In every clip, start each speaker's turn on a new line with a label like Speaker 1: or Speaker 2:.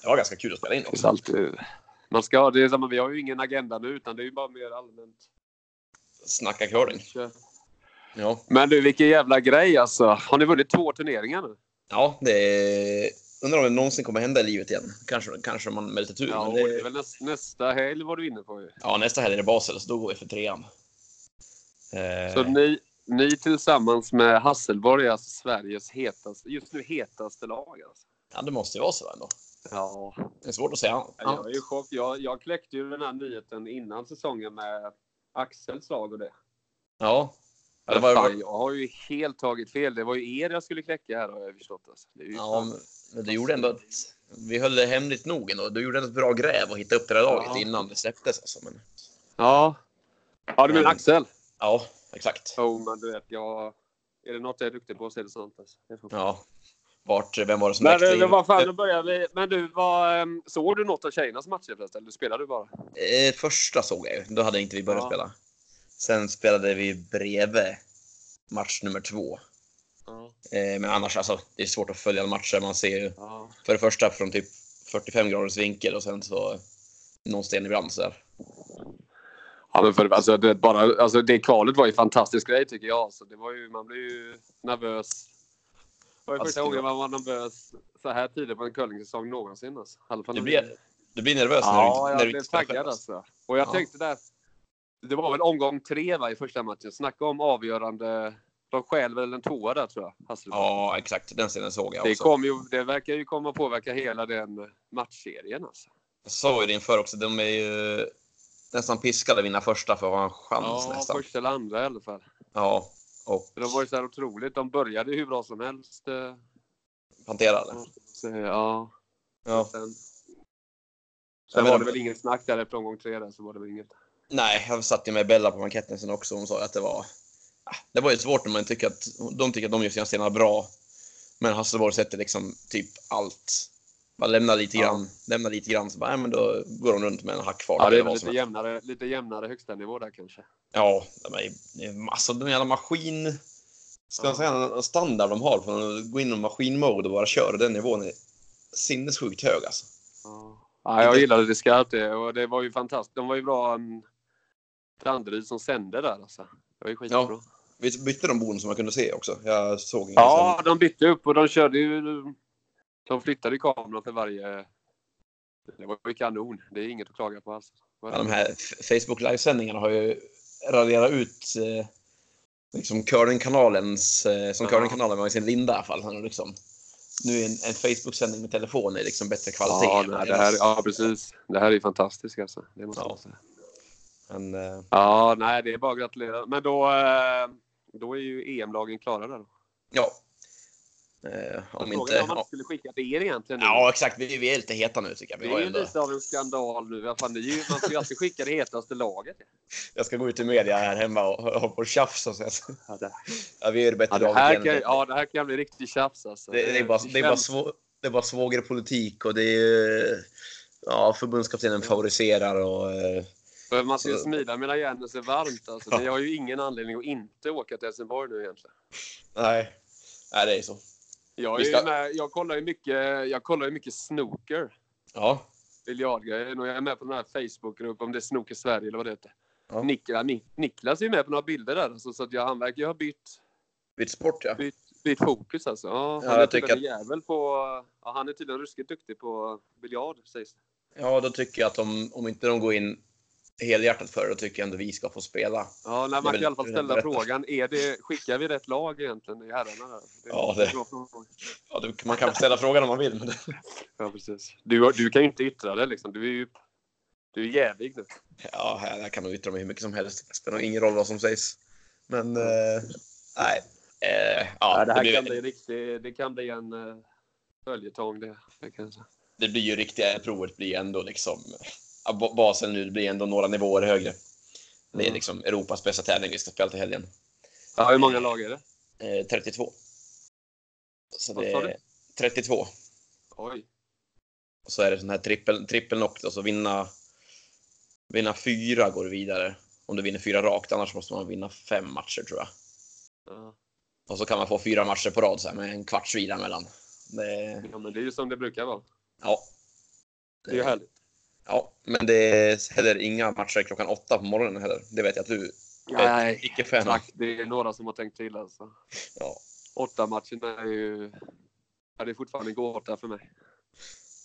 Speaker 1: Det var ganska kul att spela in
Speaker 2: Det
Speaker 1: också.
Speaker 2: är alltid... Mm. Man ska, det är, samma- vi har ju ingen agenda nu utan det är ju bara mer allmänt.
Speaker 1: Snacka curling.
Speaker 2: kör.
Speaker 1: Ja.
Speaker 2: Men du vilken jävla grej alltså. Har ni vunnit två turneringar nu?
Speaker 1: ja, det är... Undrar om det någonsin kommer hända i livet igen. Kanske, kanske man med lite tur.
Speaker 2: Ja,
Speaker 1: men
Speaker 2: och
Speaker 1: det...
Speaker 2: det är väl näs, nästa helg var du inne på ju.
Speaker 1: ja, nästa helg är det Basel, så då går vi för trean. Eh,
Speaker 2: Så ni, ni tillsammans med Hasselborg är alltså Sveriges hetaste, just nu hetaste lag alltså.
Speaker 1: Ja, det måste ju vara så ändå.
Speaker 2: Ja.
Speaker 1: Det är svårt att säga annat.
Speaker 2: Jag är i chock. Jag, jag kläckte ju den här nyheten innan säsongen med Axels lag och det.
Speaker 1: Ja. Ja, det
Speaker 2: Fan,
Speaker 1: var...
Speaker 2: jag har ju helt tagit fel. Det var ju er jag skulle kläcka här har jag förstått. Alltså. Det är ju
Speaker 1: ja,
Speaker 2: fan-
Speaker 1: men du gjorde ändå ett... Vi höll det hemligt nog ändå. Du gjorde ändå ett bra gräv och hittade upp det där laget
Speaker 2: Ja.
Speaker 1: innan det släpptes. Alltså. Men...
Speaker 2: ja. Ja, du menar Axel?
Speaker 1: Ja, exakt.
Speaker 2: Jo, men du vet, jag... Är det något jag är duktig på så är det sånt. Alltså. Det är fan-
Speaker 1: Ja. Vart, vem var det som
Speaker 2: Men,
Speaker 1: läckte
Speaker 2: det,
Speaker 1: in?
Speaker 2: det var fan, då börjar vi. Men du, vad, ehm, såg du något av tjejernas matcher förresten? Eller spelade du bara?
Speaker 1: Eh, första såg jag ju. Då hade inte vi börjat
Speaker 2: Ja.
Speaker 1: spela. Sen spelade vi bredvid match nummer två.
Speaker 2: Ja.
Speaker 1: Eh, men annars, alltså, det är svårt att följa matcher. Man ser ju
Speaker 2: ja.
Speaker 1: för det första från typ 45 graders vinkel och sen så någon sten i brand så där.
Speaker 2: men för, alltså, det, bara, alltså, det kvalet var ju en fantastisk grej tycker jag. Så det var ju, man blev ju nervös. Det var ju
Speaker 1: Alltså,
Speaker 2: första
Speaker 1: det
Speaker 2: gången man var nervös så här tidigt på en curlingsäsong någonsin. Alltså. I alla fall
Speaker 1: Du
Speaker 2: när-
Speaker 1: blir, du blir nervös när du
Speaker 2: Ja,
Speaker 1: inte,
Speaker 2: jag
Speaker 1: när du
Speaker 2: blev
Speaker 1: inte spelar
Speaker 2: taggad
Speaker 1: själv.
Speaker 2: alltså. Och jag
Speaker 1: Ja.
Speaker 2: tänkte där. Det var väl omgång tre va, i första matchen. Snacka om avgörande. De stjäl väl en tvåa där tror jag. Hasselborg.
Speaker 1: Ja, exakt. Den scenen såg jag
Speaker 2: det,
Speaker 1: också.
Speaker 2: kom ju, det verkar ju komma påverka hela den matchserien alltså.
Speaker 1: Jag sa ju det inför också. De är ju nästan piskade att vinna första för att ha en chans
Speaker 2: Ja,
Speaker 1: nästan.
Speaker 2: första eller andra i alla fall.
Speaker 1: Ja, och
Speaker 2: För de var ju så här otroligt. De började ju hur bra som helst. eh,
Speaker 1: hanterade.
Speaker 2: Så, ja.
Speaker 1: Ja.
Speaker 2: Sen,
Speaker 1: Jag
Speaker 2: sen var
Speaker 1: menar-
Speaker 2: det väl inget snack där efter omgång tre där så var det väl inget.
Speaker 1: Nej, jag satt ju med Bella på banketten sen också. Hon sa att det var... Ah, Det var ju svårt när man tycker att de tycker att de gör sina stenar bra. Men Hasselborg sätter liksom typ allt. Bara lämna lite
Speaker 2: Ja.
Speaker 1: grann, lämna lite grann så bara, nej, men då går de runt med en hack kvar.
Speaker 2: Ja, det är
Speaker 1: Eller
Speaker 2: väl
Speaker 1: vad som
Speaker 2: lite
Speaker 1: helst.
Speaker 2: jämnare, lite jämnare högsta nivå där kanske.
Speaker 1: Ja, de är, det är massa, de jävla maskin... Ska man
Speaker 2: Ja.
Speaker 1: säga en standard de har för att gå in i maskinmode och bara köra den nivån är sinnessjukt hög alltså.
Speaker 2: Ja. Ja, jag gillade det skarpt det och det var ju fantastiskt. De var ju bra. Um, Danderyd som sände där alltså. Det var ju skitbra.
Speaker 1: Ja, Visst bytte de bon som man kunde se också? Jag såg inga
Speaker 2: Ja, de bytte upp och de körde ju... De flyttade ju kameran för varje... Det var ju kanon. Det är inget att klaga på alls.
Speaker 1: Ja, de här F- Facebook livesändningarna har ju raderat ut eh, liksom curlingkanalens, eh, som
Speaker 2: Ja.
Speaker 1: curlingkanalen var i sin linda i alla fall. Han har liksom, nu är en, en Facebook-sändning med telefon är liksom bättre kvalitet.
Speaker 2: ja,
Speaker 1: än
Speaker 2: det, det
Speaker 1: deras.
Speaker 2: här, ja, precis. Det här är ju fantastiskt alltså. Det måste
Speaker 1: Ja.
Speaker 2: man säga.
Speaker 1: Men, eh,
Speaker 2: Ja, nej, det är bara att gratulera. Men då... eh, Då är ju EM-lagen klara där. Då. ja,
Speaker 1: ja. Eh, om
Speaker 2: Frågan
Speaker 1: inte...
Speaker 2: är om man
Speaker 1: ja.
Speaker 2: inte skulle skicka till er egentligen. nu.
Speaker 1: Ja, exakt. Vi, vi är lite heta nu tycker jag. Vi
Speaker 2: Det
Speaker 1: har
Speaker 2: är ju
Speaker 1: ändå,
Speaker 2: lite av en skandal nu. Vad fan, det är ju, man ska ju alltid skicka det hetaste laget.
Speaker 1: Jag ska gå ut i media här hemma och hålla på och tjafsa och säga så.
Speaker 2: Ja, det,
Speaker 1: Ja, vi är det bättre laget
Speaker 2: här
Speaker 1: igen.
Speaker 2: kan, ja, det här kan bli riktigt tjafs alltså.
Speaker 1: Det, det, är bara, det, är bara
Speaker 2: känns-
Speaker 1: svå, det är bara svågerpolitik och det är... eh, Ja, förbundskaptenen favoriserar och... eh,
Speaker 2: för Man ska ju smida medan järnet sig varmt alltså.
Speaker 1: Ja.
Speaker 2: Men jag har ju ingen anledning att inte åka till Helsingborg nu egentligen.
Speaker 1: Nej. Nej, det är så.
Speaker 2: Jag, är
Speaker 1: Vi
Speaker 2: ju
Speaker 1: ska-
Speaker 2: med, jag kollar ju mycket, jag kollar ju mycket snooker.
Speaker 1: Ja.
Speaker 2: Biljardgrejen och jag är med på den här Facebookgruppen, om det är Snooker Sverige eller vad det heter.
Speaker 1: Ja.
Speaker 2: Niklas, Ni- Niklas är ju med på några bilder där alltså, så att jag, han verkar ju ha bytt
Speaker 1: Byt sport, ja.
Speaker 2: bytt, bytt fokus alltså. Ja, han
Speaker 1: Ja,
Speaker 2: är
Speaker 1: jag
Speaker 2: tydligen
Speaker 1: tycker
Speaker 2: en jävel på... Ja, han är tydligen ruskigt duktig på biljard sägs det.
Speaker 1: Ja, då tycker jag att om, om inte de går in helhjärtat för det, då tycker jag ändå vi ska få spela.
Speaker 2: Ja, nej,
Speaker 1: väl-
Speaker 2: man kan i alla fall
Speaker 1: det är väl
Speaker 2: ställa
Speaker 1: rätt.
Speaker 2: frågan. Är det, skickar vi rätt lag egentligen i herrarna? där? Det är
Speaker 1: Ja,
Speaker 2: en
Speaker 1: det-
Speaker 2: bra fråga.
Speaker 1: Ja, du, man kan ställa frågan om man vill. Men det...
Speaker 2: Ja, precis. Du, du kan ju inte yttra det liksom. Du är ju... Du är jävig nu.
Speaker 1: Ja, här, här kan de yttra mig hur mycket som helst. Det spelar ingen roll vad som sägs. Men, eh, nej. Eh, ja,
Speaker 2: Ja, det
Speaker 1: det,
Speaker 2: här kan bli
Speaker 1: blir,
Speaker 2: en riktig... Det kan bli en eh, följetong det. det kan jag säga.
Speaker 1: det blir ju riktiga provet blir ändå liksom... ja, ba- Basen nu blir ändå några nivåer högre. Det är
Speaker 2: Mm.
Speaker 1: liksom Europas bästa tävling vi ska spela till helgen.
Speaker 2: Ja, hur många lag är det?
Speaker 1: Eh, 32. Så
Speaker 2: Vad
Speaker 1: det
Speaker 2: sa du?
Speaker 1: är 32.
Speaker 2: Oj.
Speaker 1: Och så är det sån här trippel, trippelnock, alltså vinna, vinna fyra går vidare. Om du vinner fyra rakt, annars måste man vinna fem matcher tror jag.
Speaker 2: Ja.
Speaker 1: Och så kan man få fyra matcher på rad så här, med en kvarts vila mellan. Det,
Speaker 2: ja, men det är ju som det brukar vara.
Speaker 1: ja,
Speaker 2: Det är ju härligt.
Speaker 1: Ja, men det är heller inga matcher klockan åtta på morgonen heller. Det vet jag att du
Speaker 2: Nej,
Speaker 1: icke fan av.
Speaker 2: tack. Det är några som har tänkt till alltså.
Speaker 1: Ja.
Speaker 2: Åtta matcherna är ju... Ja, det är fortfarande en gåta för mig.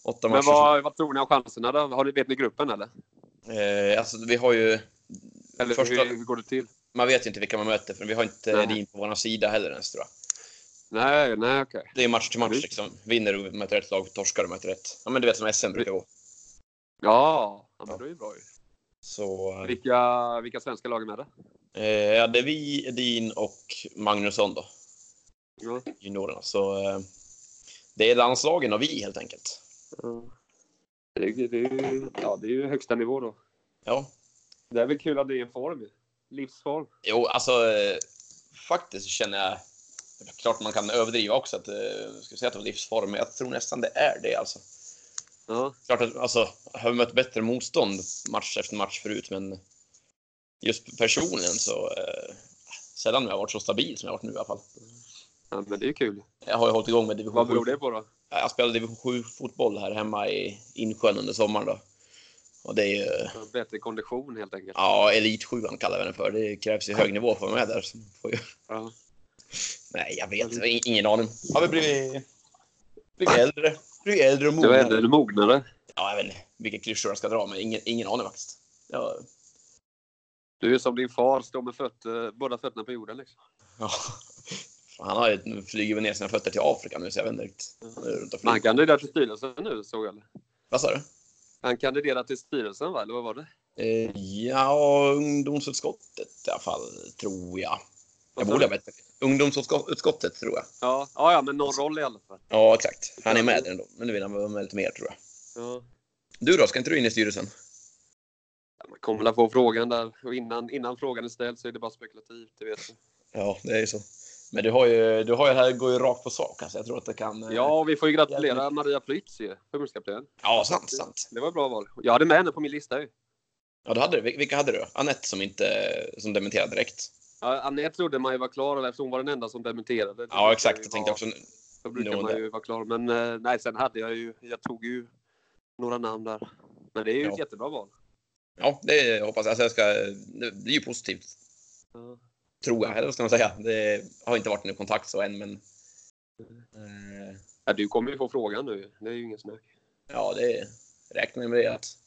Speaker 1: Åtta
Speaker 2: Men
Speaker 1: matcher.
Speaker 2: vad, vad tror ni om chanserna då? Har ni, vet ni gruppen eller?
Speaker 1: Eh, alltså, vi har ju...
Speaker 2: Eller
Speaker 1: Första-
Speaker 2: hur, hur går det till?
Speaker 1: Man vet ju inte vilka man möter, för vi har inte
Speaker 2: Nej.
Speaker 1: Edin på vår sida heller ens, tror jag.
Speaker 2: Nej, nej okej.
Speaker 1: Det är match till match
Speaker 2: Mm.
Speaker 1: liksom. Vinner du möter ett lag, torskar du möter ett. Ja, men du vet som SM brukar gå.
Speaker 2: Ja, ja,
Speaker 1: Ja.
Speaker 2: men det är ju bra ju.
Speaker 1: Så...
Speaker 2: Vilka, vilka svenska lag är med det?
Speaker 1: Eh, ja, det är vi, Edin och Magnusson då,
Speaker 2: Ja.
Speaker 1: juniorerna. Så eh, det är landslagen och vi helt enkelt.
Speaker 2: Det, är- det, är ju- ja, det är ju högsta nivå då.
Speaker 1: Ja.
Speaker 2: Det är väl kul att det är en form ju. Livsform.
Speaker 1: Jo, alltså eh, faktiskt så känner jag... det är Klart man kan överdriva också att eh, jag skulle säga att det var livsform, men jag tror nästan det är det alltså.
Speaker 2: Ja.
Speaker 1: Klart att alltså, har vi mött bättre motstånd match efter match förut, men just personligen så eh, sällan har jag varit så stabil som jag har varit nu i alla fall.
Speaker 2: ja, men det är ju kul.
Speaker 1: Jag har ju hållit igång med division
Speaker 2: Vad beror
Speaker 1: sju.
Speaker 2: det på då?
Speaker 1: Ja, Jag spelade division 7-fotboll här hemma i Insjön under sommaren. Då. Och det är ju,
Speaker 2: Bättre kondition helt enkelt.
Speaker 1: ja, elit 7 kallar vi den för. Det krävs ju hög nivå för att vara med där. Så man får ju,
Speaker 2: Ja.
Speaker 1: nej, jag vet inte. Ing- Ingen aning. Har vi blivit, blivit äldre? Blivit äldre och
Speaker 2: Du är
Speaker 1: mognare?
Speaker 2: äldre mognare.
Speaker 1: Ja, jag vet inte vilka klyschor jag ska dra, men ingen, ingen aning faktiskt. Ja,
Speaker 2: Du är som din far, står med fötter, båda fötterna på jorden liksom.
Speaker 1: ja. Fan, Han har ju flugit ner sina fötter till Afrika nu, så jag vet inte riktigt. Han är runt och
Speaker 2: Men han
Speaker 1: flyger.
Speaker 2: kandiderar till styrelsen nu såg jag. eller?
Speaker 1: Vad sa du?
Speaker 2: Han kandiderar till styrelsen va, eller vad var det?
Speaker 1: Eh, Ja, ungdomsutskottet i alla fall, tror jag. Jag
Speaker 2: Vad sa
Speaker 1: borde
Speaker 2: du?
Speaker 1: ha bättre. Ungdomsutskottet tror jag.
Speaker 2: Ja, ja, ja, men någon roll i alla fall.
Speaker 1: Ja, exakt. Han är med där ändå. Men nu vill han vara med lite mer tror jag.
Speaker 2: Ja.
Speaker 1: Du då, ska inte du in i styrelsen?
Speaker 2: Man kommer väl få frågan där och innan, innan frågan är ställd så är det bara spekulativt, det vet du.
Speaker 1: Ja, det är ju så. Men du har ju, du har ju här, går ju rakt på sak. Alltså, jag tror att det kan... eh,
Speaker 2: Ja, och vi får ju gratulera Maria Prytz ju, förbundskapten.
Speaker 1: Ja, sant, sant.
Speaker 2: Det var ett bra val. Jag hade med henne på min lista ju.
Speaker 1: Ja, du hade du. Vil- Vilka hade du? Anette som inte, som dementerade direkt.
Speaker 2: Ja, Anette trodde man ju var klar eftersom hon var den enda som dementerade. Det
Speaker 1: Ja,
Speaker 2: brukar
Speaker 1: exakt.
Speaker 2: ju
Speaker 1: Jag tänkte
Speaker 2: vara-
Speaker 1: också...
Speaker 2: Då brukar
Speaker 1: Nå,
Speaker 2: man
Speaker 1: det-
Speaker 2: ju vara klar. Men eh, nej, sen hade jag ju, jag tog ju några namn där. Men det är ju
Speaker 1: Ja.
Speaker 2: ett jättebra val.
Speaker 1: Ja, det hoppas jag. Alltså, jag ska, det blir ju positivt,
Speaker 2: Ja.
Speaker 1: tror jag. Eller vad ska man säga? Det har inte varit någon kontakt så än, men... eh,
Speaker 2: Ja, du kommer ju få frågan nu. Det är ju ingen snack.
Speaker 1: Ja, det räknar jag med det att.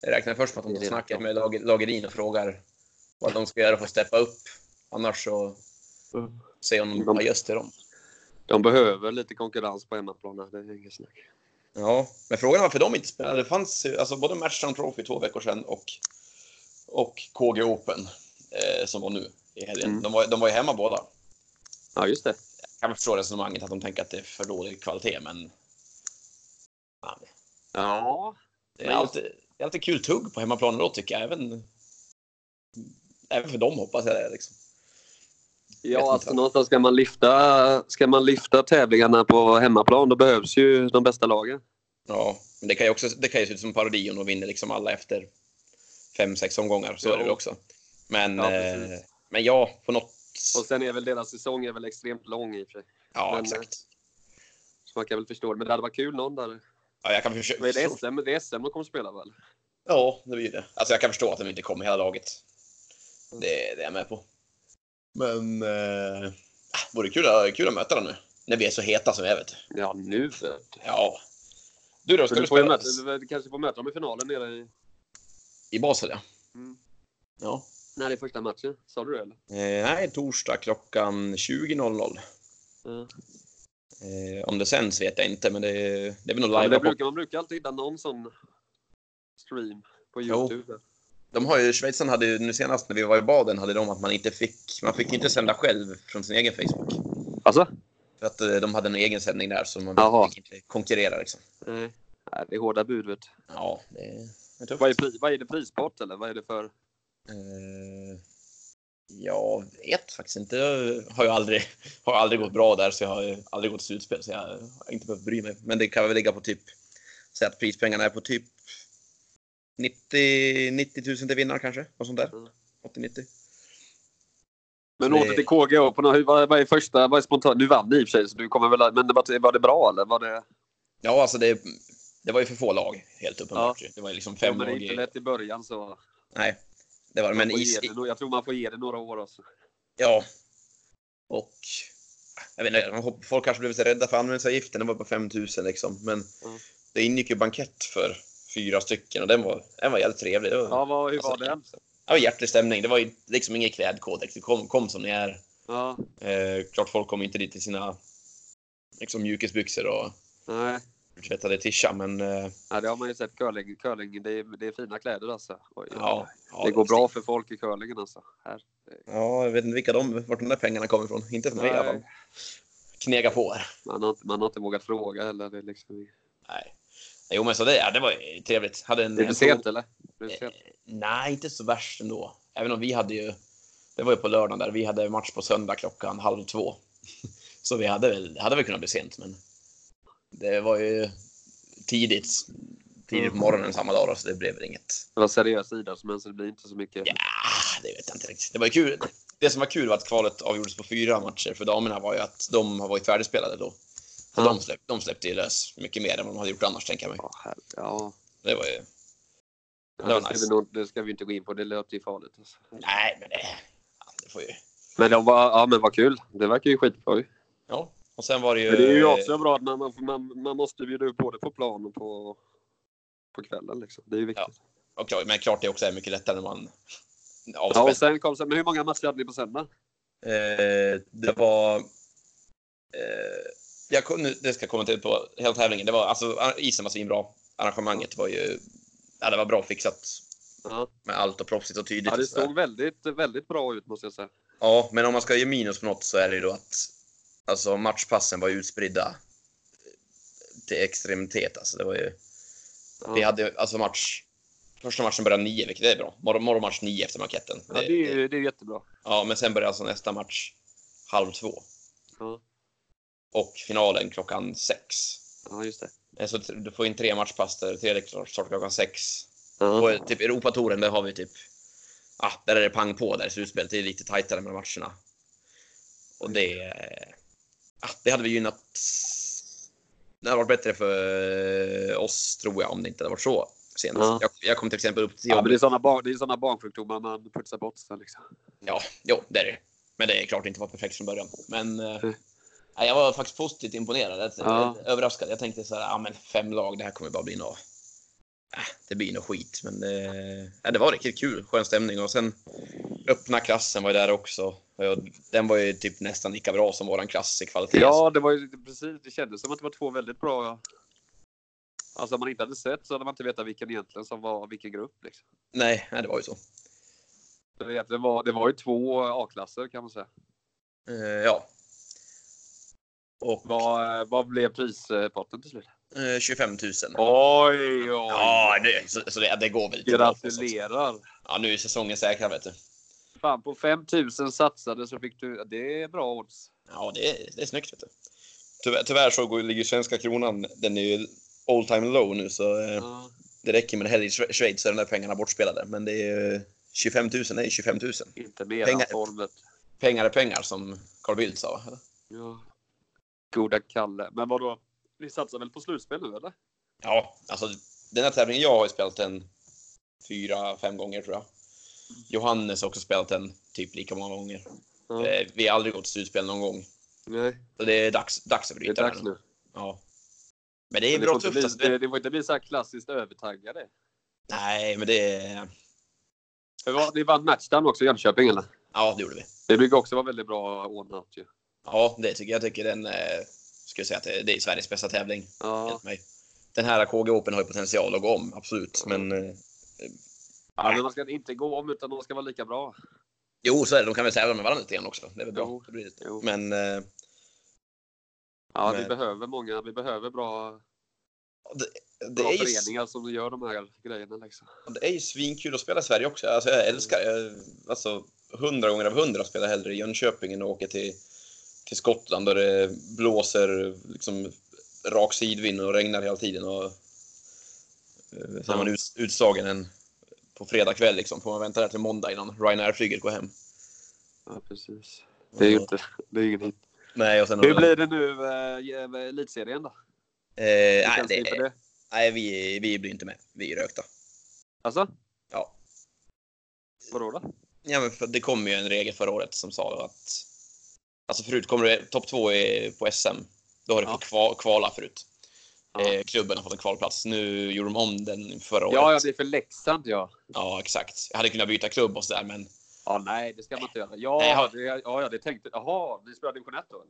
Speaker 1: Jag räknar först med att de tar snacket med Lag- Lagerin och frågar vad de ska göra för att steppa upp. Annars så säger hon
Speaker 2: De-
Speaker 1: bara just till dem.
Speaker 2: De behöver lite konkurrens på hemmaplan. här, Det är inget snack.
Speaker 1: Ja, men frågan är varför de inte spelade. Det fanns ju, alltså både Match and Trophy två veckor sedan och, och KG Open eh, som var nu i helgen.
Speaker 2: Mm.
Speaker 1: De, var, de var ju hemma båda.
Speaker 2: Ja, just det.
Speaker 1: Jag kan väl förstå resonemanget att de tänker att det är för dålig kvalitet, men fan,
Speaker 2: Ja,
Speaker 1: det, är
Speaker 2: Men just-
Speaker 1: alltid, det är alltid kul tugg på hemmaplan då tycker jag. Även, även för dem hoppas jag det. Liksom. inte
Speaker 2: ja alltså
Speaker 1: vad-
Speaker 2: någonstans ska man, lyfta, ska man lyfta tävlingarna på hemmaplan då behövs ju de bästa lagen.
Speaker 1: Ja, men det kan ju också det kan ju se ut som en parodi om de vinner liksom alla efter fem, sex omgångar. Så
Speaker 2: Ja.
Speaker 1: är det väl också. Men
Speaker 2: Ja,
Speaker 1: ja,
Speaker 2: precis.
Speaker 1: eh, men ja på något...
Speaker 2: Och sen är väl deras säsong är väl extremt lång i och för sig.
Speaker 1: Ja,
Speaker 2: men, eh,
Speaker 1: exakt.
Speaker 2: Så man kan väl förstå det. Men det hade varit kul någon där.
Speaker 1: Ja, jag kan försöka...
Speaker 2: Vad är det SM? Det är SM de kommer spela väl?
Speaker 1: Ja, det blir det. Alltså jag kan förstå att de inte kom i hela laget. Det, det är jag med på. Men... Eh, ah, vore kul, kul att möta dem nu. När vi är så heta som vi är, vet du.
Speaker 2: Ja, nu vet du.
Speaker 1: Ja. Du då, ska
Speaker 2: Men
Speaker 1: du
Speaker 2: du får ju
Speaker 1: spela
Speaker 2: möta, du kanske får möta dem i finalen nere i...
Speaker 1: i Basel? Ja.
Speaker 2: Mm.
Speaker 1: ja.
Speaker 2: När det är första matchen? Sa du det eller?
Speaker 1: Eh, nej, torsdag klockan 20.00. Mm.
Speaker 2: Ja.
Speaker 1: Eh, om det sänds vet jag inte, men det, det är väl nog
Speaker 2: Ja, men
Speaker 1: live.
Speaker 2: det brukar, man brukar alltid hitta någon sån stream på
Speaker 1: Jo.
Speaker 2: Youtube.
Speaker 1: de har ju, Schweizarna hade ju nu senast när vi var i baden hade de att man inte fick, man fick inte sända själv från sin egen Facebook.
Speaker 2: Alltså?
Speaker 1: För att eh, de hade en egen sändning där så man
Speaker 2: Jaha.
Speaker 1: fick inte konkurrera liksom.
Speaker 2: Nej. Nej, det är hårda bud vet du.
Speaker 1: Ja, det är- det är tufft.
Speaker 2: vad är, pri- vad är det prispott eller? Vad är det för?
Speaker 1: Eh, jag vet faktiskt inte. Jag har ju aldrig, har aldrig gått bra där så jag har ju aldrig gått slutspel så jag har inte behövt bry mig. Men det kan väl ligga på typ, säg att prispengarna är på typ 90, 90 000 till vinnaren kanske? Något sånt där.
Speaker 2: Mm.
Speaker 1: 80-90.
Speaker 2: Men
Speaker 1: Det-
Speaker 2: åter till KGH. På något, vad, vad är första? Vad är spontant? Nu vann ni i och för sig så du kommer väl... Men det var, var det bra eller? Var det...
Speaker 1: Ja, alltså det, det var ju för få lag, helt uppenbart. Det var ju liksom fem
Speaker 2: ja, men det är
Speaker 1: lag.
Speaker 2: inte
Speaker 1: I,
Speaker 2: lätt i början så.
Speaker 1: nej, det var det.
Speaker 2: Man
Speaker 1: Men
Speaker 2: får
Speaker 1: is,
Speaker 2: ge det, no- jag tror man får ge det några år också.
Speaker 1: Ja. Och jag vet inte, hopp- folk kanske blev så rädda för användningsavgiften. Den var på 5000 liksom. Men
Speaker 2: Mm.
Speaker 1: det ingick ju bankett för fyra stycken och den var, den var jävligt trevlig. Det var,
Speaker 2: Ja, vad, hur var
Speaker 1: alltså,
Speaker 2: den?
Speaker 1: det var hjärtlig stämning. Det var ju liksom ingen klädkodex. Det kom, kom som ni är.
Speaker 2: Ja,
Speaker 1: Eh, klart folk kom inte dit i sina liksom, mjukisbyxor och
Speaker 2: nej.
Speaker 1: tvättade tisha, men eh,
Speaker 2: Ja, det har man ju sett. Curling, curling det, är, det är fina kläder alltså. Oj,
Speaker 1: ja, ja.
Speaker 2: det går bra för folk i curlingen alltså. Här.
Speaker 1: Ja, jag vet inte vilka de, vart de där pengarna kommer ifrån. Inte för mig i alla fall.
Speaker 2: Nej,
Speaker 1: Knega på här.
Speaker 2: man, har, inte- man har inte vågat fråga heller. Det är, liksom,
Speaker 1: Nej. Jo, men så det, ja, det var ju trevligt. Hade en,
Speaker 2: det är för
Speaker 1: en
Speaker 2: sent eller? Det är
Speaker 1: Eh.
Speaker 2: för sent.
Speaker 1: Nej, inte så värst ändå. Även om vi hade ju, det var ju på lördagen där, vi hade match på söndag klockan halv två. Så vi hade väl, det hade väl kunnat bli sent, men det var ju tidigt. Tidigt på morgonen samma dag då, så det blev väl inget.
Speaker 2: Det var seriösa idrottsmän så det blir inte så mycket.
Speaker 1: Ja, det vet jag inte riktigt. Det var ju kul. Det som var kul var att kvalet avgjordes på fyra matcher för damerna var ju att de har varit färdigspelade då. Så
Speaker 2: Ja.
Speaker 1: de, släpp, de släppte ju lös mycket mer än vad de hade gjort annars, tänker jag mig.
Speaker 2: Ja, här, ja.
Speaker 1: Det var ju...
Speaker 2: Ja,
Speaker 1: Det var
Speaker 2: det, ska
Speaker 1: nice.
Speaker 2: vi nog, det ska vi inte gå in på, det löpte ju farligt. Alltså.
Speaker 1: Nej, men det... ja, det får ju...
Speaker 2: Men de var, ja men vad kul, det verkar ju skitbra Eh. ju.
Speaker 1: Ja. Och sen var det ju...
Speaker 2: Men det är ju också bra att man, man, man, man måste bjuda upp både på plan och på, på kvällen liksom. Det är ju viktigt.
Speaker 1: och klart- men klart det också är mycket lättare när man...
Speaker 2: Ja, och
Speaker 1: Avspänd.
Speaker 2: sen kom sen, men hur många matcher hade ni på söndag?
Speaker 1: Eh, det var... Eh, jag kunde, det ska jag kommentera på hela tävlingen. Det var, alltså, isen var svinbra. Arrangemanget var ju... Ja, det var bra fixat
Speaker 2: Ja,
Speaker 1: med allt och proffsigt och tydligt.
Speaker 2: ja det
Speaker 1: och sådär.
Speaker 2: såg väldigt, väldigt bra ut måste jag säga.
Speaker 1: Ja, men om man ska ge minus på något så är det ju då att alltså, matchpassen var ju utspridda eh, till extremitet. Alltså, det var ju,
Speaker 2: Ja.
Speaker 1: Vi hade alltså match... Första matchen började nio, vilket är bra. Morgon, morgonmatch nio efter marketten.
Speaker 2: Ja, det är ju det är ju jättebra.
Speaker 1: ja, men sen började alltså nästa match halv två
Speaker 2: Ja,
Speaker 1: och finalen klockan sex.
Speaker 2: ja just det.
Speaker 1: Eh, Så du får in tre matchpass där, tredje klart- startar klockan sex.
Speaker 2: Ja,
Speaker 1: Och typ Europatouren, där har vi typ... Ah, där är det pang på där i slutspelet. Det är lite tajtare mellan matcherna. Och det... eh, Ah, det hade vi gynnat... Det hade varit bättre för eh, oss, tror jag, om det inte hade varit så sent.
Speaker 2: Ja.
Speaker 1: Jag, jag kom till exempel upp till
Speaker 2: ja men det är
Speaker 1: jobbet.
Speaker 2: sådana barn, det är såna barnsjukdomar man putsar bort sen liksom.
Speaker 1: Ja, jo, det är det. Men det är klart det inte var perfekt från början. Men... eh,
Speaker 2: Mm.
Speaker 1: nej, Jag var faktiskt positivt imponerad. Jag-
Speaker 2: Ja.
Speaker 1: Överraskad. Jag tänkte så här, ah, men fem lag, det här kommer bara bli något... Ah, det blir nog skit, men det, ja, det var riktigt kul. Skön stämning. Och sen öppna klassen var ju där också. Och Den var ju typ nästan lika bra som våran klass i kvalitet.
Speaker 2: Ja, det var ju precis. Det kändes som att det var två väldigt bra... Alltså om man inte hade sett så hade man inte vetat vilken egentligen som var vilken grupp. Liksom.
Speaker 1: Nej, nej, det var ju så.
Speaker 2: Så det, egentligen var, det var ju två A-klasser kan man säga.
Speaker 1: Eh, ja. Och
Speaker 2: Vad, eh, vad blev prispotten till slut?
Speaker 1: eh, 25 000.
Speaker 2: Oj, oj!
Speaker 1: Ja, det, så, så det, det går väl lite bra.
Speaker 2: Gratulerar!
Speaker 1: Ja, nu är säsongen säkrad, vet du.
Speaker 2: Fan, på 5000 satsade så fick du... Det är bra odds.
Speaker 1: Ja, det är, det är snyggt. Vet du. Tyvärr, tyvärr så går, ligger svenska kronan, den är ju all time low nu så eh,
Speaker 2: Ja.
Speaker 1: det räcker med en helg i Schwe- Schweiz så är de där pengarna bortspelade. Men det är ju 25 000, det är 25 000.
Speaker 2: Inte mer
Speaker 1: Pengar-
Speaker 2: än formet.
Speaker 1: Pengar är pengar som Carl Bildt sa. Eller?
Speaker 2: Ja. Goda Kalle. Men vadå? Ni satsar väl på slutspel nu eller?
Speaker 1: Ja, alltså den här tävlingen, jag har ju spelat den fyra, fem gånger tror jag. Johannes har också spelat den typ lika många gånger.
Speaker 2: Ja.
Speaker 1: Eh, Vi har aldrig gått till slutspel någon gång.
Speaker 2: Nej,
Speaker 1: Så det är dags, dags att
Speaker 2: det är
Speaker 1: bryta
Speaker 2: dags
Speaker 1: här
Speaker 2: nu.
Speaker 1: Ja. Men det är
Speaker 2: Men
Speaker 1: bra
Speaker 2: får inte
Speaker 1: tufft. alltså.
Speaker 2: bli, det, det får inte bli så här klassiskt övertaggade.
Speaker 1: Nej, men det är...
Speaker 2: För vad- Ni vann matchdown också i Jönköping eller?
Speaker 1: Ja, det gjorde vi.
Speaker 2: Det brukar också vara väldigt bra ordnat ju.
Speaker 1: Ja, det tycker jag. Jag tycker den, eh, skulle jag säga att det, det är Sveriges bästa tävling.
Speaker 2: Ja.
Speaker 1: enligt Mig. Den här KG Open har ju potential att gå om, absolut. Men eh,
Speaker 2: ja, men man ska inte gå om utan de ska vara lika bra.
Speaker 1: jo, så är det. De kan väl tävla med varandra lite grann också. Det är väl bra.
Speaker 2: Jo.
Speaker 1: Det blir det.
Speaker 2: Jo.
Speaker 1: Men eh,
Speaker 2: Ja, vi
Speaker 1: Men-
Speaker 2: behöver många, vi behöver bra,
Speaker 1: det,
Speaker 2: bra
Speaker 1: är ju,
Speaker 2: föreningar som gör de här grejerna liksom.
Speaker 1: det är ju svinkul att spela i Sverige också. Alltså, jag älskar jag, alltså hundra gånger av hundra spelar jag hellre i Jönköping än att åka till, till Skottland där det blåser liksom, rak sidvind och regnar hela tiden. Och, eh, så är man ut, utslagen en, på fredag kväll. Liksom. Får man vänta där till måndag innan Ryanair-flyget går hem.
Speaker 2: Ja, precis. Det är ju
Speaker 1: Och-
Speaker 2: inte, det är ingen hit.
Speaker 1: Nej, och sen...
Speaker 2: Hur blir det nu, eh, i- eh, elitserien då?
Speaker 1: Eh, nej,
Speaker 2: Känns
Speaker 1: det,
Speaker 2: inför
Speaker 1: nej, Nej, vi, vi blir inte med. Vi är rökta.
Speaker 2: Alltså?
Speaker 1: Ja.
Speaker 2: Vadå då?
Speaker 1: Ja, men för det kom ju en regel förra året som sa att... Alltså förut, kommer du topp två i- på SM, då har du
Speaker 2: Ja.
Speaker 1: fått kva- kvala förut.
Speaker 2: Ja.
Speaker 1: Eh, klubben har fått en kvalplats. Nu gjorde de om den förra året.
Speaker 2: Ja, jag blir för Leksand ja.
Speaker 1: Ja, exakt. Jag hade kunnat byta klubb och sådär, men...
Speaker 2: Ja, nej, det ska man inte göra.
Speaker 1: Nej, jag
Speaker 2: Ja,
Speaker 1: har-
Speaker 2: det, ja, ja, det tänkte... Jaha, vi spelar division 1 då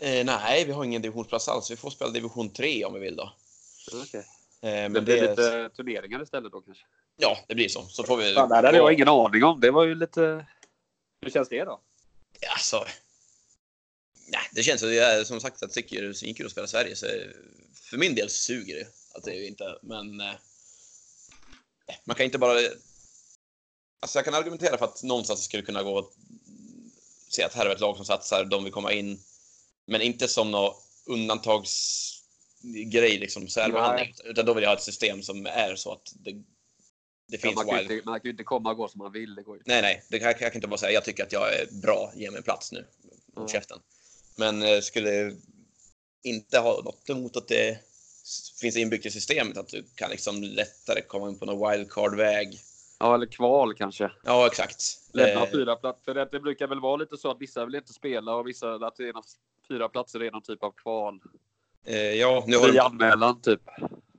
Speaker 2: eller?
Speaker 1: Eh, nej, vi har ingen divisionsplats alls. Vi får spela division 3 om vi vill då.
Speaker 2: Okay.
Speaker 1: Eh, men
Speaker 2: Det blir lite turneringar istället då kanske?
Speaker 1: Ja, det blir så. Så får vi...
Speaker 2: Fan, det här hade jag ingen aning om. Det var ju lite... Hur känns det då?
Speaker 1: Alltså... Nej, det känns som, jag, som sagt, jag tycker det är svinkul att spela i Sverige. Så för min del suger det att det är inte, men... eh, Man kan inte bara... Alltså jag kan argumentera för att någonstans skulle kunna gå att se att här är ett lag som satsar, de vill komma in. Men inte som någon undantagsgrej, liksom särbehandling. Utan då vill jag ha ett system som är så att det, det
Speaker 2: Ja,
Speaker 1: finns
Speaker 2: man, kan ju
Speaker 1: wild-
Speaker 2: inte, man kan ju inte komma och gå som man vill. Det går ju.
Speaker 1: Nej, nej. Det kan, jag kan inte bara säga jag tycker att jag är bra, ge mig en plats nu.
Speaker 2: Mm.
Speaker 1: Mot käften. Men eh, skulle inte ha något emot att det s- finns inbyggt i systemet att du kan liksom lättare komma in på någon wildcard-väg.
Speaker 2: Ja, eller kval kanske.
Speaker 1: Ja, exakt.
Speaker 2: Lämna
Speaker 1: Eh,
Speaker 2: fyra platser. För det, det brukar väl vara lite så att vissa vill inte spela och vissa att det är någon, fyra platser är någon typ av kval.
Speaker 1: eh, ja, nu har
Speaker 2: Fri
Speaker 1: de,
Speaker 2: anmälan typ.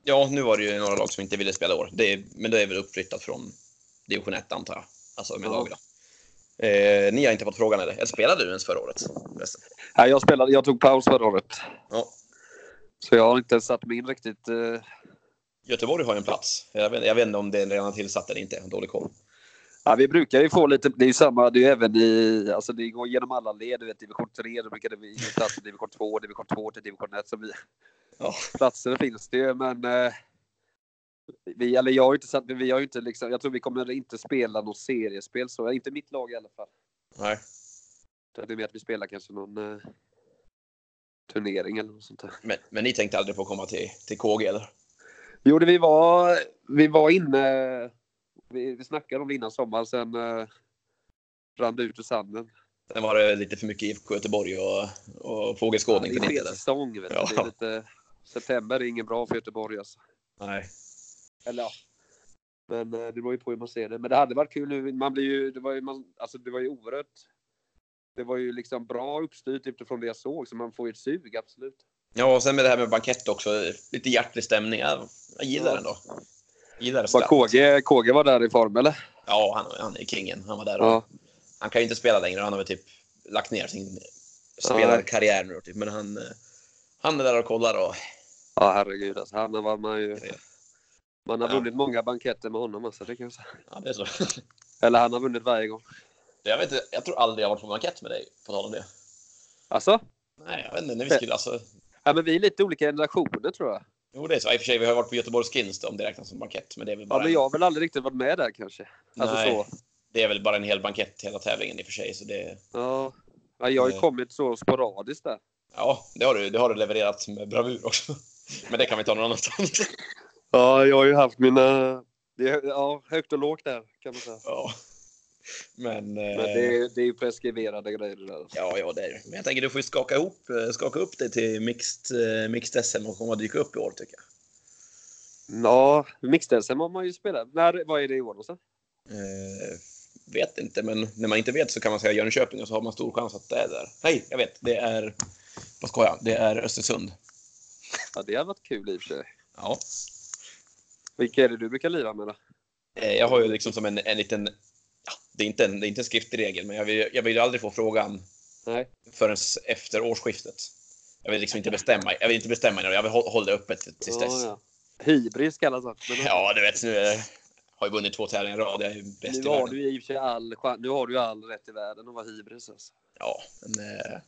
Speaker 1: ja, nu var det ju några lag som inte ville spela i år. Det är, men det är väl uppflyttat från division 1 antar jag. Alltså med
Speaker 2: Ja.
Speaker 1: lag då. Eh, ni har inte fått frågan eller? Eller spelade du ens förra året? förresten?
Speaker 2: Nej, jag spelade. Jag tog paus förra året.
Speaker 1: Ja.
Speaker 2: Så jag har inte satt mig in riktigt. eh,
Speaker 1: Göteborg har ju en plats. Jag vet, jag vet inte om det är redan tillsatt eller inte. Jag har dålig koll.
Speaker 2: Ja, vi brukar ju få lite, det är ju samma, det är ju även i, alltså det går genom alla led, du vet division 3, då brukar det bli plats i division 2, division 2 till division 1. Så vi,
Speaker 1: Ja.
Speaker 2: Platser finns det ju, men eh, vi, eller jag har ju inte satt, vi har ju inte liksom, jag tror vi kommer inte spela något seriespel, så inte mitt lag i alla fall.
Speaker 1: Nej.
Speaker 2: Utan Det är mer att vi spelar kanske någon eh, turnering eller något sånt där.
Speaker 1: Men, men ni tänkte aldrig på att komma till, till KG eller?
Speaker 2: Jo, det vi var, vi var inne, vi, vi snackade om det innan sommaren, sen eh, rann det ut ur sanden.
Speaker 1: Sen var det lite för mycket IFK Göteborg och, och fågelskådning för
Speaker 2: Ja, det är
Speaker 1: din
Speaker 2: fel
Speaker 1: del.
Speaker 2: säsong. Vet du.
Speaker 1: Ja.
Speaker 2: Det är lite, september är ingen bra för Göteborg. Alltså.
Speaker 1: Nej.
Speaker 2: Eller ja. Men eh, det beror ju på hur man ser det. Men det hade varit kul nu. Man blir ju, det, var ju, man, alltså, det var ju oerhört. Det var ju liksom bra uppstyrt utifrån det jag såg, så man får ju ett sug, absolut.
Speaker 1: Ja, och sen med det här med bankett också. Lite hjärtlig stämning. Jag, jag gillar
Speaker 2: Ja.
Speaker 1: den då. Jag gillar det
Speaker 2: Var
Speaker 1: starkt.
Speaker 2: KG, KG var där i form, eller?
Speaker 1: Ja, han, han är kingen. Han var där. Och,
Speaker 2: Ja.
Speaker 1: Han kan ju inte spela längre. Han har väl typ lagt ner sin spelarkarriär nu. Typ. Men han, eh, han är där och kollar och
Speaker 2: Ja, herregud alltså. Han var man ju... Man har
Speaker 1: Ja.
Speaker 2: vunnit många banketter med honom, alltså, det kan jag säga.
Speaker 1: ja, det är så.
Speaker 2: Eller han har vunnit varje gång.
Speaker 1: Jag, vet inte, jag tror aldrig jag har varit på bankett med dig, på tal om det.
Speaker 2: Alltså?
Speaker 1: Nej, jag vet inte. När vi skulle, alltså,
Speaker 2: Ja, men vi är lite olika generationer, tror jag.
Speaker 1: jo, det är så. I och för sig, vi har ju varit på Göteborgs Skins då, om det räknas som bankett. Men det är väl bara
Speaker 2: Ja, men jag har väl aldrig riktigt varit med där, kanske. Alltså
Speaker 1: Nej.
Speaker 2: så.
Speaker 1: Det är väl bara en hel bankett hela tävlingen i och för sig. Så det,
Speaker 2: Ja. ja jag har ju
Speaker 1: Eh.
Speaker 2: kommit så sporadiskt där.
Speaker 1: ja, det har, du, det har du levererat med bravur också. Men det kan vi ta någon annanstans.
Speaker 2: Ja, jag har ju haft mina... Det är, ja, högt och lågt där kan man säga.
Speaker 1: Ja. Men, eh,
Speaker 2: Men det, är- det är ju preskriberade grejer det där.
Speaker 1: ja, ja, det är det. Men jag tänker du får ju skaka, ihop, eh, skaka upp dig till mixed, eh, mixed SM och komma och dyka upp i år tycker jag.
Speaker 2: Ja, mixed-SM har man ju spelat. När, vad är det i år någonstans?
Speaker 1: Eh, vet inte, men när man inte vet så kan man säga Jönköping och så har man stor chans att det är där. Nej, jag vet. Det är, vad ska jag? Det är Östersund.
Speaker 2: Ja, det har varit kul i och för sig.
Speaker 1: Ja.
Speaker 2: Vilka är det du brukar lira med då?
Speaker 1: Eh, Jag har ju liksom som en, en liten, ja, det, är inte en, det är inte en skriftlig regel, men jag vill, jag vill ju aldrig få frågan
Speaker 2: Nej.
Speaker 1: förrän efter årsskiftet. Jag vill liksom inte bestämma. Jag vill inte bestämma nu. Jag vill hå- hålla det öppet tills dess.
Speaker 2: Ja,
Speaker 1: Ja,
Speaker 2: ja. Hybris kallas det. Men
Speaker 1: du vet nu är, har jag vunnit två tävlingar i rad. Jag är ju bäst
Speaker 2: nu
Speaker 1: i
Speaker 2: har
Speaker 1: världen.
Speaker 2: du i och för sig all, chan- nu har du ju all rätt i världen att vara hybris alltså.
Speaker 1: Ja, men, eh,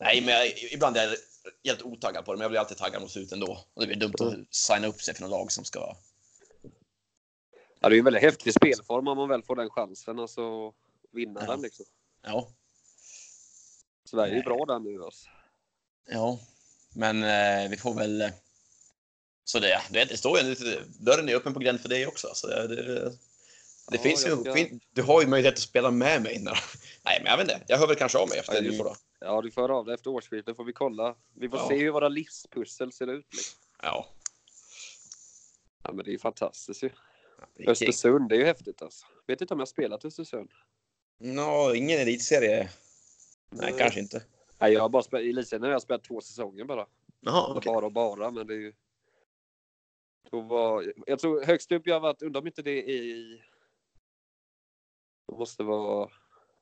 Speaker 1: nej, men jag, ibland är jag helt otaggad på det, men jag blir alltid taggad mot slutet ändå. Och det blir dumt att signa upp sig för något lag som ska.
Speaker 2: Ja, det är ju en väldigt häftig spelform om man väl får den chansen alltså. att Vinna
Speaker 1: Ja.
Speaker 2: den liksom.
Speaker 1: Ja,
Speaker 2: Sverige är ju bra där nu alltså.
Speaker 1: ja, men eh, vi får väl. eh, Så det, du vet, det står ju lite, dörren är öppen på gränd för dig också. Så det, det, det
Speaker 2: Ja,
Speaker 1: finns ju,
Speaker 2: jag ska-
Speaker 1: fin, du har ju möjlighet att spela med mig. När, nej, men jag vet inte. Jag hör väl kanske av mig efter
Speaker 2: Ja,
Speaker 1: en
Speaker 2: just-
Speaker 1: då.
Speaker 2: Ja, du får höra av dig efter årsskiftet får vi kolla. Vi får
Speaker 1: Ja.
Speaker 2: se hur våra livspussel ser ut. Liksom.
Speaker 1: Ja.
Speaker 2: Ja, men det är ju fantastiskt ju.
Speaker 1: Det är kul.
Speaker 2: Östersund, det är ju häftigt alltså. Vet inte om jag spelat Östersund.
Speaker 1: Nå, ingen elitserie. Nej,
Speaker 2: Nej.
Speaker 1: kanske inte.
Speaker 2: Nej, jag har bara spelat, i elitserien har jag spelat två säsonger bara.
Speaker 1: Jaha, okej.
Speaker 2: Bara och bara, men det är ju... Då var, jag tror högst upp jag har varit, undrar om inte det är i... Det måste vara...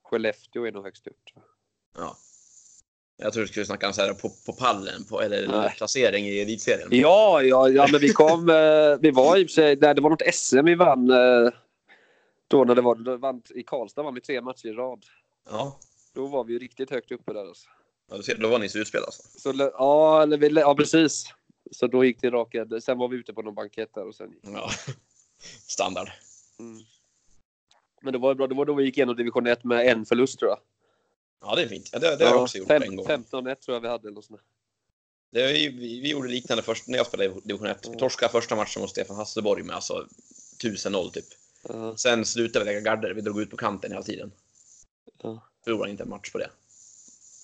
Speaker 2: Skellefteå är nog högst upp. tror jag.
Speaker 1: Ja. Jag tror du skulle snacka om så här på, på pallen, på, eller
Speaker 2: Nej.
Speaker 1: placering i elitserien.
Speaker 2: Ja, ja, ja, men vi kom... eh, vi var i och för sig... Nej, det var något SM vi vann. eh, Då när det var... Då vann, I Karlstad vann vi tre matcher i rad.
Speaker 1: Ja.
Speaker 2: Då var vi ju riktigt högt uppe där alltså.
Speaker 1: ja du ser, då var ni i slutspel alltså.
Speaker 2: Så, lä- ja, eller vi, lä- ja, precis. Så då gick det raka... Sen var vi ute på någon bankett där och sen gick...
Speaker 1: Ja. Standard.
Speaker 2: Mm. Men det var ju bra. Det var då vi gick igenom division 1 med en förlust tror jag.
Speaker 1: Ja, det är fint. Ja, det, det har jag också gjort
Speaker 2: fem-
Speaker 1: en gång.
Speaker 2: 15-1 tror jag vi hade. Eller sånt.
Speaker 1: Det, är ju- vi, vi gjorde liknande först när jag spelade i division 1. Vi
Speaker 2: Mm.
Speaker 1: torskade första matchen mot Stefan Hasselborg med alltså 1000-0 typ.
Speaker 2: Ja.
Speaker 1: Sen slutade vi lägga garder. Vi drog ut på kanten hela tiden.
Speaker 2: Ja.
Speaker 1: Förlorade inte en match på det.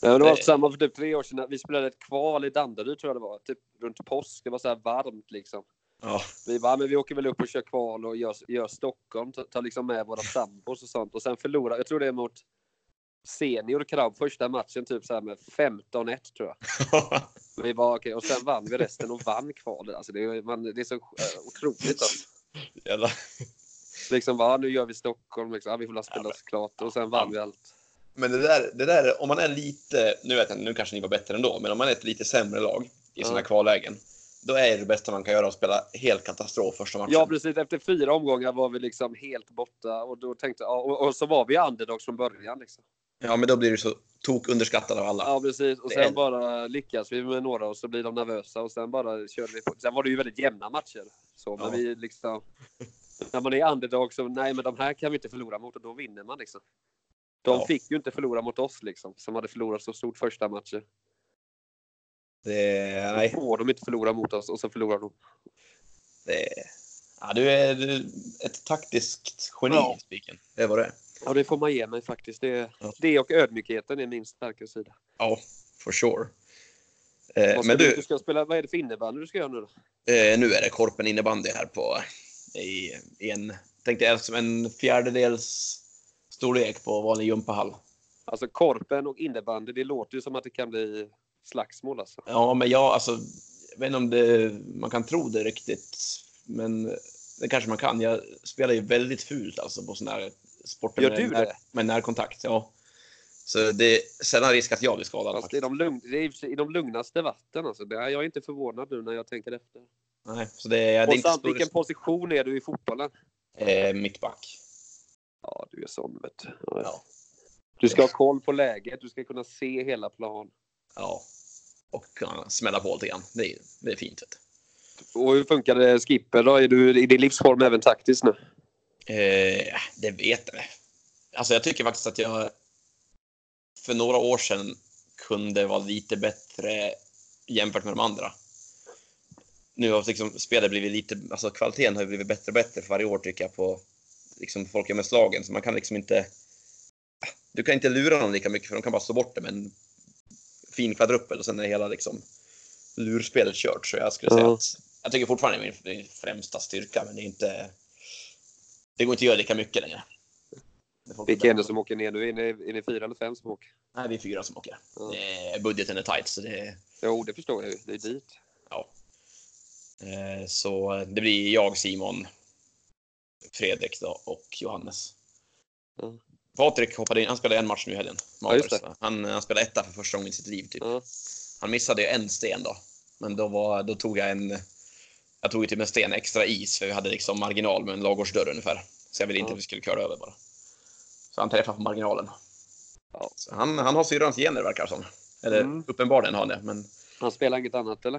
Speaker 2: Nej, men det var
Speaker 1: Eh.
Speaker 2: samma för typ tre år sedan. Vi spelade ett kval i Danderyd tror jag det var. Typ runt påsk. Det var så här varmt liksom.
Speaker 1: Ja,
Speaker 2: Vi bara, "Ja, men vi åker väl upp och kör kval och gör, gör Stockholm. Tar, tar liksom med våra sambos och sånt. Och sen förlorar, jag tror det är mot Senior Krabb första matchen typ så här med 15-1 tror jag. Vi var okej och sen vann vi resten och vann kvalet. Alltså det, är- man, det är så eh, otroligt. Alltså.
Speaker 1: jävla.
Speaker 2: Liksom bara, nu gör vi Stockholm, liksom. ja, vi får väl spela klart och sen vann vi allt.
Speaker 1: Men det där, det där, om man är lite, nu vet jag nu kanske ni var bättre ändå, men om man är ett lite sämre lag i sådana
Speaker 2: Ja.
Speaker 1: här kvallägen, då är det bästa man kan göra att spela helt katastrof första matchen.
Speaker 2: Ja precis, efter fyra omgångar var vi liksom helt borta och då tänkte jag, ja, och, och så var vi underdogs från början liksom.
Speaker 1: Ja, men då blir du så tok underskattad av alla.
Speaker 2: Ja precis, och
Speaker 1: Det är-
Speaker 2: sen bara lyckas vi med några och så blir de nervösa och sen bara körde vi på. Sen var det ju väldigt jämna matcher. Så, men
Speaker 1: Ja.
Speaker 2: vi liksom, när man är underdog så, nej men de här kan vi inte förlora mot och då vinner man liksom. De
Speaker 1: Ja.
Speaker 2: fick ju inte förlora mot oss liksom, som hade förlorat så stort första matchen.
Speaker 1: Det,
Speaker 2: Nej.
Speaker 1: nej,
Speaker 2: Får de inte förlora mot oss och så förlorar de.
Speaker 1: det, ja, du är du är ett taktiskt geni,
Speaker 2: Ja.
Speaker 1: Spiken. Det var det.
Speaker 2: Ja, det får man ge mig faktiskt. Det,
Speaker 1: Ja.
Speaker 2: det och ödmjukheten är min starka sida.
Speaker 1: Ja, for sure. Eh,
Speaker 2: Vad
Speaker 1: men
Speaker 2: ska
Speaker 1: du,
Speaker 2: du ska spela, vad är det för innebandy du ska göra nu då?
Speaker 1: eh, nu är det Korpen innebandy här på i, i en, tänkte jag, som en fjärdedels storlek på vanlig gympahall.
Speaker 2: Alltså korpen och innebandy, det låter ju som att det kan bli slagsmål alltså.
Speaker 1: Ja, men jag, alltså, jag vet inte om det, man kan tro det riktigt, men det kanske man kan. Jag spelar ju väldigt fult alltså på sådana här sporter
Speaker 2: Gör
Speaker 1: med,
Speaker 2: du
Speaker 1: när,
Speaker 2: det?
Speaker 1: med närkontakt. Ja. Så det är sällan risk att jag blir skadad.
Speaker 2: Fast i
Speaker 1: faktiskt.
Speaker 2: de, lugn, det är i och för sig i de lugnaste vatten alltså. Det är, jag är inte förvånad nu när jag tänker efter.
Speaker 1: Nej, så det, är- det är
Speaker 2: och
Speaker 1: inte
Speaker 2: samt,
Speaker 1: stor
Speaker 2: vilken
Speaker 1: risk.
Speaker 2: position är du i fotbollen?
Speaker 1: Eh, mittback.
Speaker 2: Ja, du är sån vet du. Ja.
Speaker 1: Ja.
Speaker 2: Du ska ha koll på läget, du ska kunna se hela plan.
Speaker 1: Ja. Och kunna smälla på lite grann. Det är, det är fint. Vet du.
Speaker 2: Och hur funkar det skipper då? Är du i din livsform även taktiskt nu?
Speaker 1: Eh, det vet jag. Alltså jag tycker faktiskt att jag för några år sedan kunde vara lite bättre jämfört med de andra. Nu har liksom spelet blivit lite, alltså kvaliteten har ju blivit bättre och bättre för varje år tycker jag på liksom folk i med slagen så man kan liksom inte. Du kan inte lura någon lika mycket för de kan bara slå bort det med en fin kvadruppel och sen är hela liksom lurspelet kört så jag skulle säga
Speaker 2: Ja.
Speaker 1: att jag tycker fortfarande det är min främsta styrka men det är inte. Det går inte att göra lika mycket längre. Det får-
Speaker 2: Vilka är det som åker ner nu? Är ni, är ni fyra eller fem som åker?
Speaker 1: Nej, vi är fyra som åker.
Speaker 2: Ja.
Speaker 1: Eh, budgeten är tight, så det,
Speaker 2: Jo, det förstår jag ju. Det är dit.
Speaker 1: eh, så det blir jag, Simon, Fredrik då, och Johannes.
Speaker 2: Mm.
Speaker 1: Patrik hoppade in. Han spelade en match nu i helgen.
Speaker 2: Ja, just det.
Speaker 1: Maters, va? han, han spelade etta för första gången i sitt liv. Typ.
Speaker 2: Ja.
Speaker 1: Han missade ju en sten då. Men då, var, då tog jag en... Jag tog ju typ en sten extra is, för vi hade liksom marginal med en lagårdsdörr ungefär. Så jag ville inte
Speaker 2: Ja.
Speaker 1: att vi skulle köra över bara. Så han träffade på marginalen.
Speaker 2: Ja.
Speaker 1: Så han, han har syrrans gener verkar det som. Eller
Speaker 2: Mm.
Speaker 1: uppenbarligen har han det, men
Speaker 2: Han spelar inget annat eller?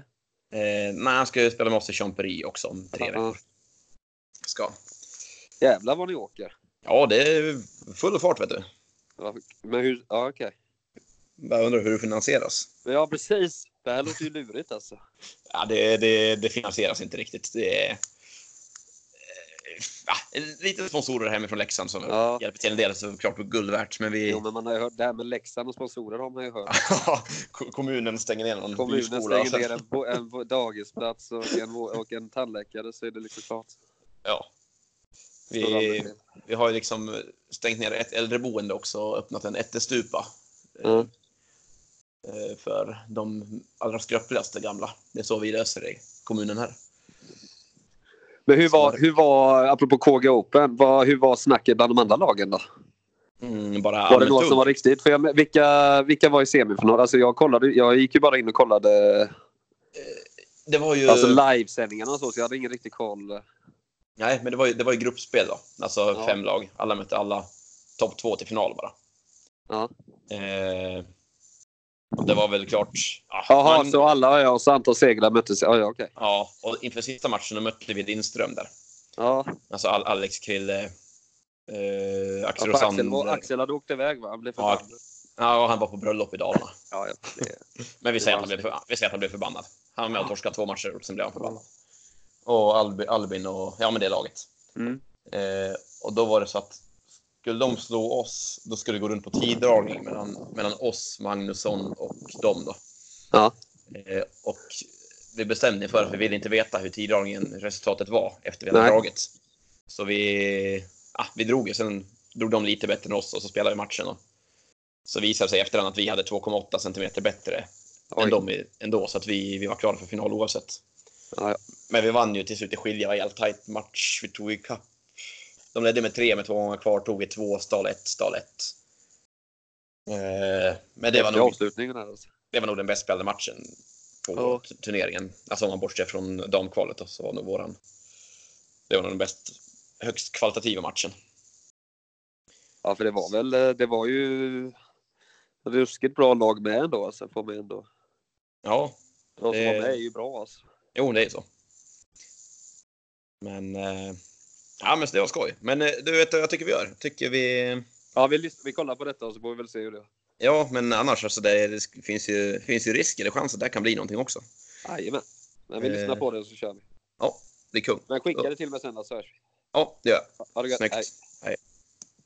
Speaker 1: Eh, nej, han ska ju spela med oss i Champery också om tre veckor.
Speaker 2: Ja.
Speaker 1: Ska.
Speaker 2: Jävlar vad ni åker.
Speaker 1: Ja, det är full fart vet du.
Speaker 2: Ja, Men hur, ja okej.
Speaker 1: Bara undrar hur det finansieras.
Speaker 2: Men Ja precis. Det här låter ju lurigt alltså.
Speaker 1: Ja, det, det, det finansieras inte riktigt. Det är, eh, ja, lite sponsorer hemifrån Leksand som
Speaker 2: Ja.
Speaker 1: hjälper till en del, så klart på guld värt. Men vi...
Speaker 2: Jo, men man har ju hört det här med Leksand och sponsorer har man ju hört.
Speaker 1: Ko- kommunen stänger ner någon
Speaker 2: Kommunen
Speaker 1: byskola,
Speaker 2: stänger
Speaker 1: så-
Speaker 2: ner en, bo- en bo- dagisplats och en, vå- och en tandläkare så är det liksom klart.
Speaker 1: Ja.
Speaker 2: Står
Speaker 1: Vi,
Speaker 2: aldrig fel.
Speaker 1: vi har ju liksom stängt ner ett äldreboende också och öppnat en ättestupa. eh,
Speaker 2: Mm.
Speaker 1: eh, För de allra skröpligaste gamla. Det är så vi löser det i kommunen här.
Speaker 2: Men hur var,
Speaker 1: Smart.
Speaker 2: hur var apropå KG Open, vad, hur var snacket bland de andra lagen då?
Speaker 1: Mm, bara
Speaker 2: Var det
Speaker 1: allmänt
Speaker 2: några som
Speaker 1: tungt.
Speaker 2: var riktigt? För jag, vilka, vilka var i semifinal? Alltså jag, kollade, jag gick ju bara in och kollade
Speaker 1: Det var ju...
Speaker 2: alltså livesändningarna och så, så jag hade ingen riktig koll.
Speaker 1: Nej, men det var ju, det var ju gruppspel då. Alltså
Speaker 2: Ja.
Speaker 1: fem lag. Alla mötte alla. Topp två till final bara.
Speaker 2: Ja.
Speaker 1: Eh, och det var väl klart... ja,
Speaker 2: Jaha,
Speaker 1: man-
Speaker 2: så alla ja, och så antal segrar möttes? Ja, ja okej.
Speaker 1: Ja, och inför sista matchen då mötte vi Lindström där.
Speaker 2: Ja,
Speaker 1: Alltså Al- Alex Krille, eh,
Speaker 2: ja,
Speaker 1: Axel
Speaker 2: för Axel, var-
Speaker 1: Rosander.
Speaker 2: Axel hade åkt iväg va? Han blev
Speaker 1: Ja.
Speaker 2: förbannad.
Speaker 1: Ja, han var på bröllop i Dalarna.
Speaker 2: Ja, ja, det,
Speaker 1: Men vi
Speaker 2: Det
Speaker 1: säger,
Speaker 2: var
Speaker 1: att han blev, för- vi säger att han blev förbannad. Han var med och torskade två matcher och sen blev han förbannad.
Speaker 2: Ja.
Speaker 1: Och Albi, Albin och ja, men det laget.
Speaker 2: Mm.
Speaker 1: Eh, och då var det så att skulle de slå oss, då skulle det gå runt på tiddragning mellan, mellan oss, Magnusson och dem då.
Speaker 2: Ja.
Speaker 1: Eh, och vi bestämde för att vi ville inte veta hur tiddragningen, resultatet var efter vi hade
Speaker 2: Nej.
Speaker 1: dragit. Så vi, ah, vi drog ju, sen drog de lite bättre än oss och så spelade vi matchen. Då. Så visade det sig i efterhand att vi hade 2,8 centimeter bättre än
Speaker 2: Oj.
Speaker 1: dem i- ändå, så att vi, vi var klara för final oavsett.
Speaker 2: Ja, ja.
Speaker 1: Men vi vann ju till slut i skilja, det var en jävligt tajt match. Vi tog ikapp. De ledde med tre med två gånger kvar, tog vi två, stal ett, stal ett. Eh, Men det var,
Speaker 2: Häftig
Speaker 1: nog,
Speaker 2: avslutningen här alltså.
Speaker 1: det var nog den bäst spelade matchen på
Speaker 2: Ja.
Speaker 1: t- turneringen. Alltså om man bortser från damkvalet då, så var nog våran... Det var nog den bäst, högst kvalitativa matchen.
Speaker 2: Ja, för det var väl, eh, det var ju ruskigt bra lag med ändå alltså, får man ändå.
Speaker 1: Ja,
Speaker 2: De som
Speaker 1: Eh.
Speaker 2: var med är ju bra alltså.
Speaker 1: Jo, det är så. Men... eh, Ja, men så det var skoj. Men eh, du vet vad jag tycker vi gör? Tycker vi...
Speaker 2: Ja, vi, lys- vi kollar på detta och så får vi väl se hur det
Speaker 1: Ja, men annars alltså det, det sk- finns ju, finns ju risk eller chans att det här kan bli någonting också.
Speaker 2: Jajamän. Men vi
Speaker 1: Eh.
Speaker 2: lyssnar på det och så kör vi.
Speaker 1: Det är kung.
Speaker 2: Men skicka det till mig sen då så hörs vi.
Speaker 1: Ja, det gör jag.
Speaker 2: Ha det gött.
Speaker 1: Snyggt.
Speaker 2: Hej.
Speaker 1: Hej.